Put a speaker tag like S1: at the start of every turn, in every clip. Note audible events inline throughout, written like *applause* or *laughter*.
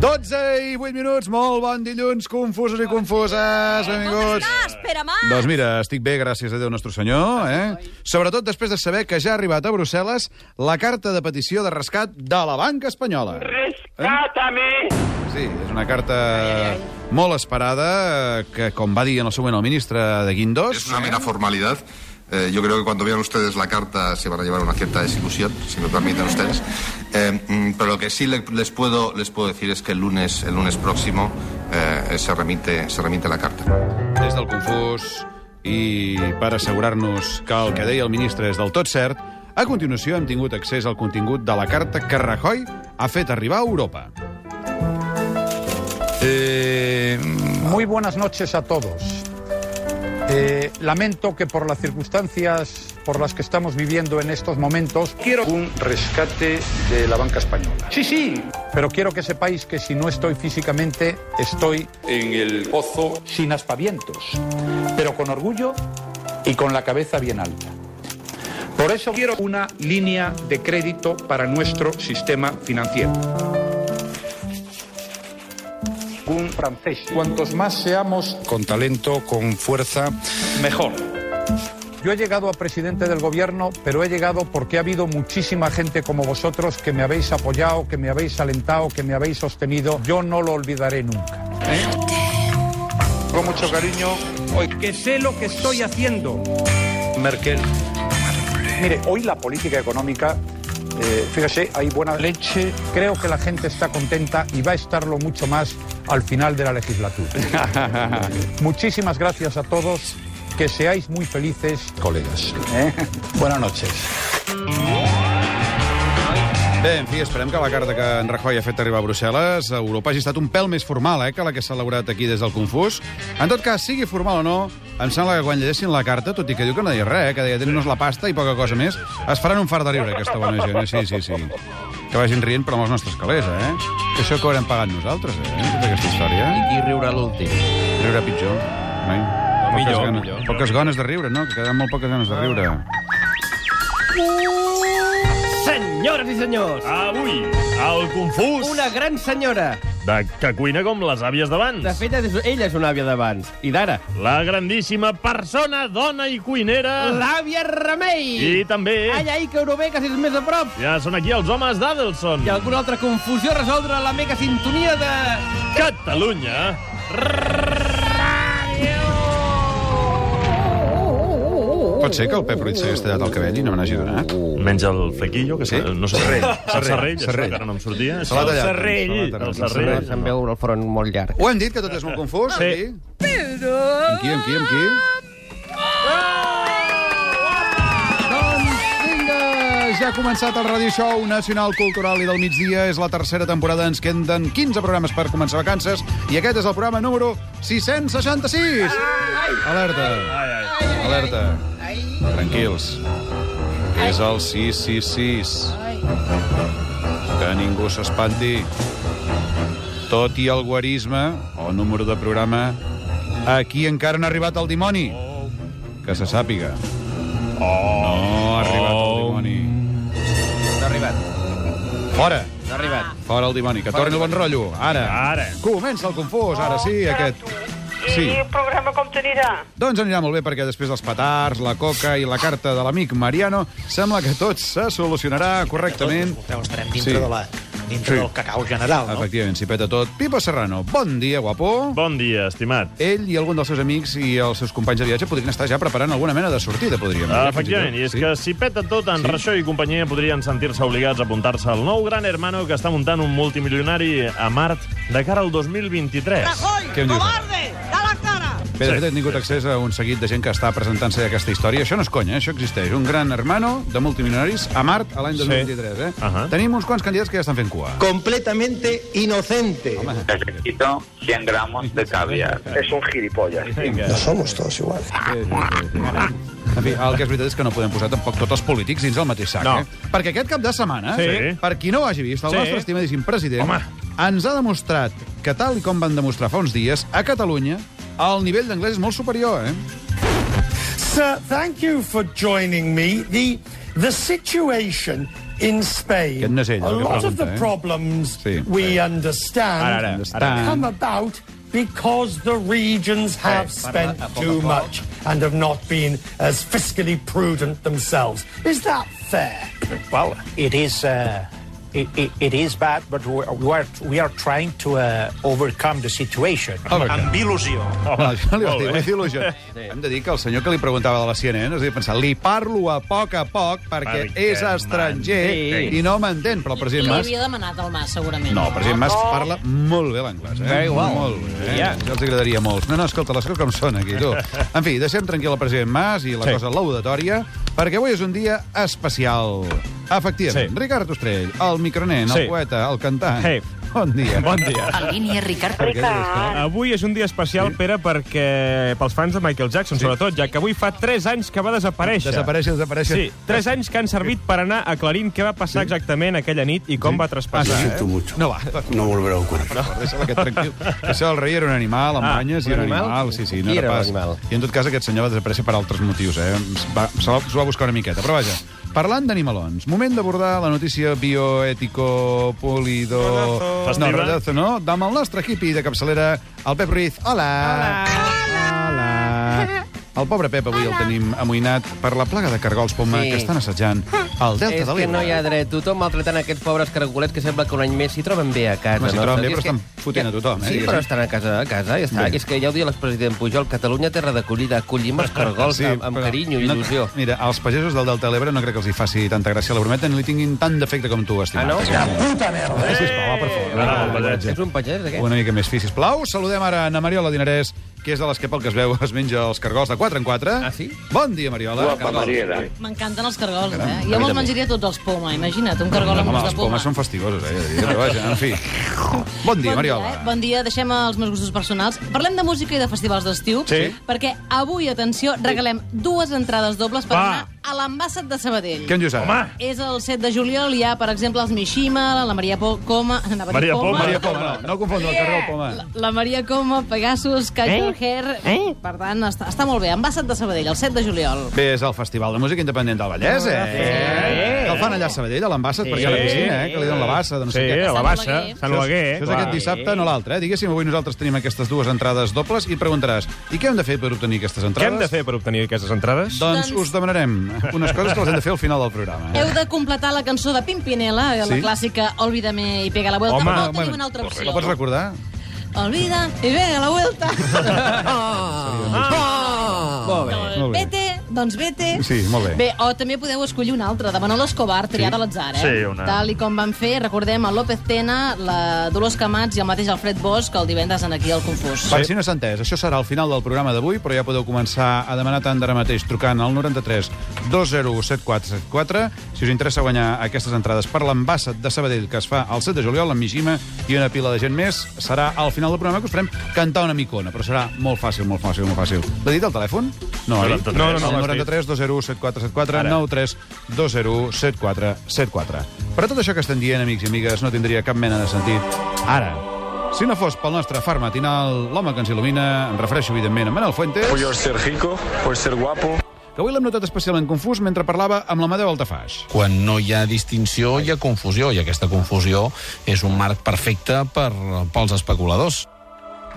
S1: 16 i 8 minuts. Molt bon dilluns, confusos i confuses,
S2: Com
S1: benvinguts.
S2: estàs, Pere Mas?
S1: Doncs mira, estic bé, gràcies a Déu Nostre Senyor, eh? Sobretot després de saber que ja ha arribat a Brussel·les la carta de petició de rescat de la banca espanyola.
S3: Rescátame.
S1: Sí, és una carta molt esperada, eh, que, com va dir en el seu moment el ministre de Guindos...
S4: Es una mera formalidad. Eh, yo creo que cuando vean ustedes la carta se van a llevar una cierta desilusión, si me permiten ustedes. Eh, mm, pero lo que sí le- les, puedo, les puedo decir es que el lunes, el lunes próximo eh, se, remite, se remite la carta.
S1: Des del confús i per assegurar-nos que el que deia el ministre és del tot cert, a continuació hem tingut accés al contingut de la carta que Rajoy ha fet arribar a Europa.
S5: Eh,
S6: Muy buenas noches a todos. Eh, lamento que por las circunstancias por las que estamos viviendo en estos momentos quiero un rescate de la banca española. Sí, sí. Pero quiero que sepáis que si no estoy físicamente, estoy
S5: en el pozo
S6: sin aspavientos, pero con orgullo y con la cabeza bien alta. Por eso quiero una línea de crédito para nuestro sistema financiero. Un francés. Cuantos más seamos
S5: con talento, con fuerza.
S6: mejor. Yo he llegado a presidente del gobierno, pero he llegado porque ha habido muchísima gente como vosotros que me habéis apoyado, que me habéis alentado, que me habéis sostenido. Yo no lo olvidaré nunca. ¿eh? Con mucho cariño, hoy que sé lo que estoy haciendo. Merkel. Mire, hoy la política económica, eh, fíjese, hay buena leche. Creo que la gente está contenta y va a estarlo mucho más al final de la *laughs* legislatura. Muchísimas gracias a todos. Que seáis muy felices, ¿Eh? colegas. Buenas noches.
S1: Bé, en fi, esperem que la carta que en Rajoy ha fet arribar a Brussel·les a Europa hagi estat un pèl més formal eh, que la que s'ha elaborat aquí des del Confús. En tot cas, sigui formal o no, em sembla que quan llegeixin la carta, tot i que diu que no deia res, eh, que deia tenir-nos la pasta i poca cosa més, es faran un fart de riure, aquesta bona gent. eh? Sí, sí, sí. Que vagin rient, però amb els nostres calés, eh? Que això que haurem pagat nosaltres, eh? Tota aquesta història. I qui riurà l'últim? Riurà pitjor. Mai. Poques, millor, ganes, millor. poques ganes de riure, no? Que quedaran molt poques ganes de riure.
S7: Senyores i senyors,
S8: Avui, Ah, el confús
S7: una gran senyora.
S8: de que cuina com les àvies d'abans.
S7: De fet, és- ella és una àvia d'abans, i d'ara.
S8: La grandíssima persona, dona i cuinera.
S7: L'àvia Remei!
S8: I també
S7: Ai, ai, que Eurovegas és més a prop.
S8: ja són aquí els homes d'Adelson.
S7: I alguna altra confusió a resoldre la mega sintonia de...
S8: Catalunya.
S1: Pot ser que el Pep Ruiz s'hagués tallat el cabell i no me n'hagi donat?
S8: Menys el flequillo, que
S1: Sí?
S8: se- no sé. Serrell. El
S1: Serrell,
S8: serrell, això,
S1: serrell.
S8: que ara no em sortia.
S1: Se l'ha
S8: El
S1: tallat.
S8: serrell.
S1: Se l'ha tallat,
S8: El
S1: el
S8: serrell.
S1: serrell.
S7: Em veu el front molt llarg.
S1: Ho hem dit, que tot és molt confús,
S8: Sí.
S1: aquí? Amb qui, amb qui, amb qui? Doncs vinga, ja ha començat el Radio Show Nacional Cultural i del migdia. És la tercera temporada, ens queden 15 programes per començar vacances i aquest és el programa número 666. Alerta, alerta. Tranquils. És el 666. Que ningú s'espanti. Tot i el guarisme, o número de programa, aquí encara no ha arribat el dimoni.
S7: Oh.
S1: Que se sàpiga. No ha arribat el dimoni.
S7: Oh. No ha arribat,
S1: Fora!
S7: no ha arribat.
S1: Fora el dimoni, que torni el bon rotllo. Ara.
S8: Ara.
S1: Comença el confús, ara sí, aquest. Sí.
S3: I el programa com t'anirà?
S1: Doncs anirà molt bé perquè després dels petards, la coca i la carta de l'amic Mariano, sembla que tot se solucionarà correctament.
S9: Veus, estarem dintre,
S1: Sí.
S9: sí. de la, dintre
S1: Sí.
S9: sí. del cacau general, no?
S1: Efectivament, s'hi peta tot. Pipo Serrano, bon dia, guapo.
S8: Bon dia, estimat.
S1: ell i algun dels seus amics i els seus companys de viatge podrien estar ja preparant alguna mena de sortida, podríem dir.
S8: Ah, Efectivament, i és
S1: sí.
S8: que si peta tot, en
S1: Sí.
S8: sí. Reixó i companyia podrien sentir-se obligats a apuntar-se al nou gran hermano que està muntant un multimilionari a Mart de cara al 2023.
S1: Què em dius? Cobarde! Bé, de fet, he tingut accés a un seguit de gent que està presentant-se aquesta història. Això no és conya, eh? això existeix. Un gran hermano de multimilionaris a Mart a l'any 2023. Eh?
S8: Ahà.
S1: Tenim uns quants candidats que ja estan fent cua.
S10: completamente inocente.
S3: Necesito 100 gramos de caviar. És un gilipollas.
S1: En fi, el que és veritat és que no podem posar tampoc tots els polítics dins del mateix sac.
S8: No.
S1: Eh? Perquè aquest cap de setmana,
S8: Sí.
S1: per qui no ho hagi vist, el
S8: Sí.
S1: nostre estimadíssim president
S8: Home.
S1: ens ha demostrat que, tal i com van demostrar fa uns dies, a Catalunya el nivell d'anglès és molt superior, eh?
S10: Sir, thank you for joining me. The the situation
S2: in Spain,
S1: Aquest no és ell,
S2: a
S1: el que
S2: lot of
S1: pregunta,
S2: the
S1: eh?
S2: problems
S1: Sí.
S2: we understand
S1: Ara, ara, Understand.
S2: come about because the regions have spent too much and have not been as fiscally prudent themselves. Is that fair?
S9: Well, it is. Uh, it, it, it is bad, but we are- we are we are trying to uh, overcome the situation.
S1: Overcome.
S9: Amb il·lusió.
S8: Oh,
S1: Home, jo li vaig
S8: molt
S1: dir,
S8: bé.
S1: vaig dir il·lusió. Hem de dir que el senyor que li preguntava de la CNN es havia pensat, li parlo a poc a poc perquè
S8: Perquè
S1: és estranger
S8: m'entén.
S1: i no m'entén, però el
S11: I
S1: president
S11: li
S1: Mas...
S11: havia demanat el Mas, segurament.
S1: No, el president Mas parla molt bé l'anglès, eh?
S7: Very well.
S1: Molt bé. Eh?
S7: Yeah.
S1: Ja els agradaria molt. No, no, escolta, les coses com són aquí, tu. En fi, deixem tranquil el president Mas i la
S7: Sí.
S1: cosa laudatòria, perquè avui és un dia especial. Efectivament,
S7: Sí.
S1: Ricard Ostrell, el micronen,
S7: Sí.
S1: el poeta, el cantant...
S12: Hey.
S1: Bon dia.
S12: Bon dia.
S13: En
S11: eh,
S13: línia, Ricard.
S12: Avui és un dia especial, Pere, perquè pels fans de Michael Jackson,
S1: Sí.
S12: sobretot, ja que avui fa 3 anys que va desaparèixer.
S1: Desaparèixer, desaparèixer.
S12: Sí, 3 anys que han servit per anar aclarint què va passar exactament aquella nit i com va traspassar.
S1: Ah,
S12: eh?
S1: sí. mucho. No va.
S14: No volverá a ocurrir.
S1: Deixa-la que tranquil. Això del rei era un animal, amb
S12: Ah,
S1: banyes, i
S12: un
S1: era un
S12: animal?
S1: animal. Sí, sí, no
S12: Qui
S1: era
S12: era
S1: pas.
S12: l'animal?
S1: I en tot cas aquest senyor va desaparèixer per altres motius, eh? Es Va, se la- s'ho va buscar una miqueta, però vaja. Parlant d'animalons, moment d'abordar la notícia bioètico, polido...
S8: Festiva.
S1: No, rodazo, no? Amb el nostre equipi de capçalera, el Pep Ruiz. Hola! Hola! Hola! El pobre Pep avui el tenim amoïnat per la plaga de cargols poma
S7: Sí.
S1: que estan assetjant el delta
S7: és
S1: de
S7: que
S1: l'Ebre.
S7: no hi ha dret. Tothom maltratant aquests pobres cargolets que sembla que un any més s'hi troben bé a casa.
S1: Home, s'hi
S7: no?
S1: troben bé,
S7: És
S1: però
S7: que-
S1: estan fotent a tothom, eh,
S7: Sí,
S1: diguéssim.
S7: però estan a casa, a casa, i està.
S1: Bé.
S7: És que ja ho deia l'expresident Pujol, Catalunya terra d'acollida, acollim
S1: *laughs*
S7: els cargols amb, amb
S1: però
S7: carinyo i il·lusió.
S1: No, mira, als pagesos del Delta de l'Ebre no crec que els hi faci tanta gràcia la brometa ni li tinguin tant d'efecte com tu, estimat.
S7: Ah, no?
S1: Aquesta.
S7: puta
S1: Eh, sisplau, va, per favor.
S7: Ets un pagès, aquest?
S1: Una mica més fi, sisplau. Saludem ara Ana Mariola Dinarès, que és de les que, pel que es veu, es menja els cargols de 4 en 4. Ah, sí? Bon dia, Mariola.
S3: Guapa,
S1: Cargols.
S3: Mariela.
S11: M'encanten els cargols, eh?
S1: mi
S11: Jo me'ls
S1: també.
S11: menjaria tots els poma, imagina't, un cargol amb
S1: Home,
S11: gust de
S1: els
S11: poma.
S1: pomes són fastigosos, eh? de dir, Però vaja, en fi. Bon dia, Mariola.
S11: Dia, eh? Bon dia, deixem els meus gustos personals. Parlem de música i de festivals d'estiu,
S1: Sí.
S11: perquè avui, atenció, regalem dues entrades dobles per
S1: Va.
S11: anar a l'Ambasset de Sabadell.
S1: Què en dius ara? Home!
S11: És el 7 de juliol, hi ha, per exemple, els Mishima, la Maria Po Coma... anava a dir
S1: Maria Poma.
S11: Poma.
S1: Maria Poma, no, no confondre el cargol Poma.
S11: La, la Maria Coma, Pegasus, Cajol eh? Hair... Eh? Per tant, està, està molt bé. Ambasset de Sabadell, el 7 de juliol.
S1: Bé, és el Festival de Música Independent del Vallès, eh? eh? Que el fan allà a Sabadell, a l'Ambassa,
S12: Sí.
S1: perquè hi ha la piscina, eh? Que li donen la bassa de no sé
S12: Sí,
S1: què.
S12: a la bassa, Sant Oleguer. Sant Oleguer,
S1: Això és, això és
S12: clar.
S1: aquest dissabte, no l'altre, eh? Diguéssim, avui nosaltres tenim aquestes dues entrades dobles i preguntaràs, i què hem de fer per obtenir aquestes
S12: Què
S1: entrades?
S12: hem de fer per obtenir aquestes entrades?
S1: Doncs us demanarem unes coses que les hem de fer al final del programa. eh?
S11: Heu de completar la cançó de Pimpinela, la
S1: Sí.
S11: clàssica Olvídame i pega la vuelta.
S1: Home,
S11: no teniu
S1: bueno,
S11: una altra opció.
S1: La pots recordar?
S11: Olvida i ve a la
S1: *laughs*
S11: vuelta.
S1: Molt bé, molt bé.
S11: Vete, doncs vete.
S1: Sí, molt bé.
S11: Bé, o també podeu escollir una altra, de Manolo Escobar, triada a l'atzar, eh?
S1: Sí, una-
S11: Tal i com van fer, recordem, a López Tena, la Dolors Camats i el mateix Alfred Bosch, el divendres en aquí al Confús.
S1: Per si no s'ha entès, això serà al final del programa d'avui, però ja podeu començar a demanar tant d'ara mateix trucant al 93 201 7474 si us interessa guanyar aquestes entrades per l'embàssat de Sabadell que es fa el 7 de juliol, amb Mishima i una pila de gent més. Serà al final del programa que us farem cantar una micona, però serà molt fàcil, molt fàcil, molt fàcil. L'he dit al telèfon? No, oi?
S8: 93. No, no, no,
S1: El
S8: no,
S1: 93 201 7474 93 201 7474. Però tot això que estem dient, amics i amigues, no tindria cap mena de sentit ara. Si no fos pel nostre far matinal, l'home que ens il·lumina, em refereixo, evidentment, a Manel Fuentes...
S15: Puedo ser rico, puedo ser guapo.
S1: Que avui l'hem notat especialment confús mentre parlava amb l'Amadeu Altafaix.
S16: Quan no hi ha distinció, hi ha confusió, i aquesta confusió és un marc perfecte per, pels especuladors.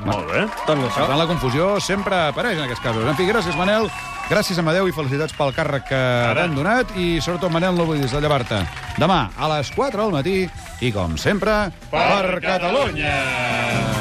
S1: Molt bé. Doncs això. Per tant, la confusió sempre apareix en aquests casos. En fi, gràcies, Manel. Gràcies, Amadeu, i felicitats pel càrrec que t'han donat. I sobretot, Manel, no oblidis de llevar-te demà a les 4 del matí i, com sempre, per, Catalunya!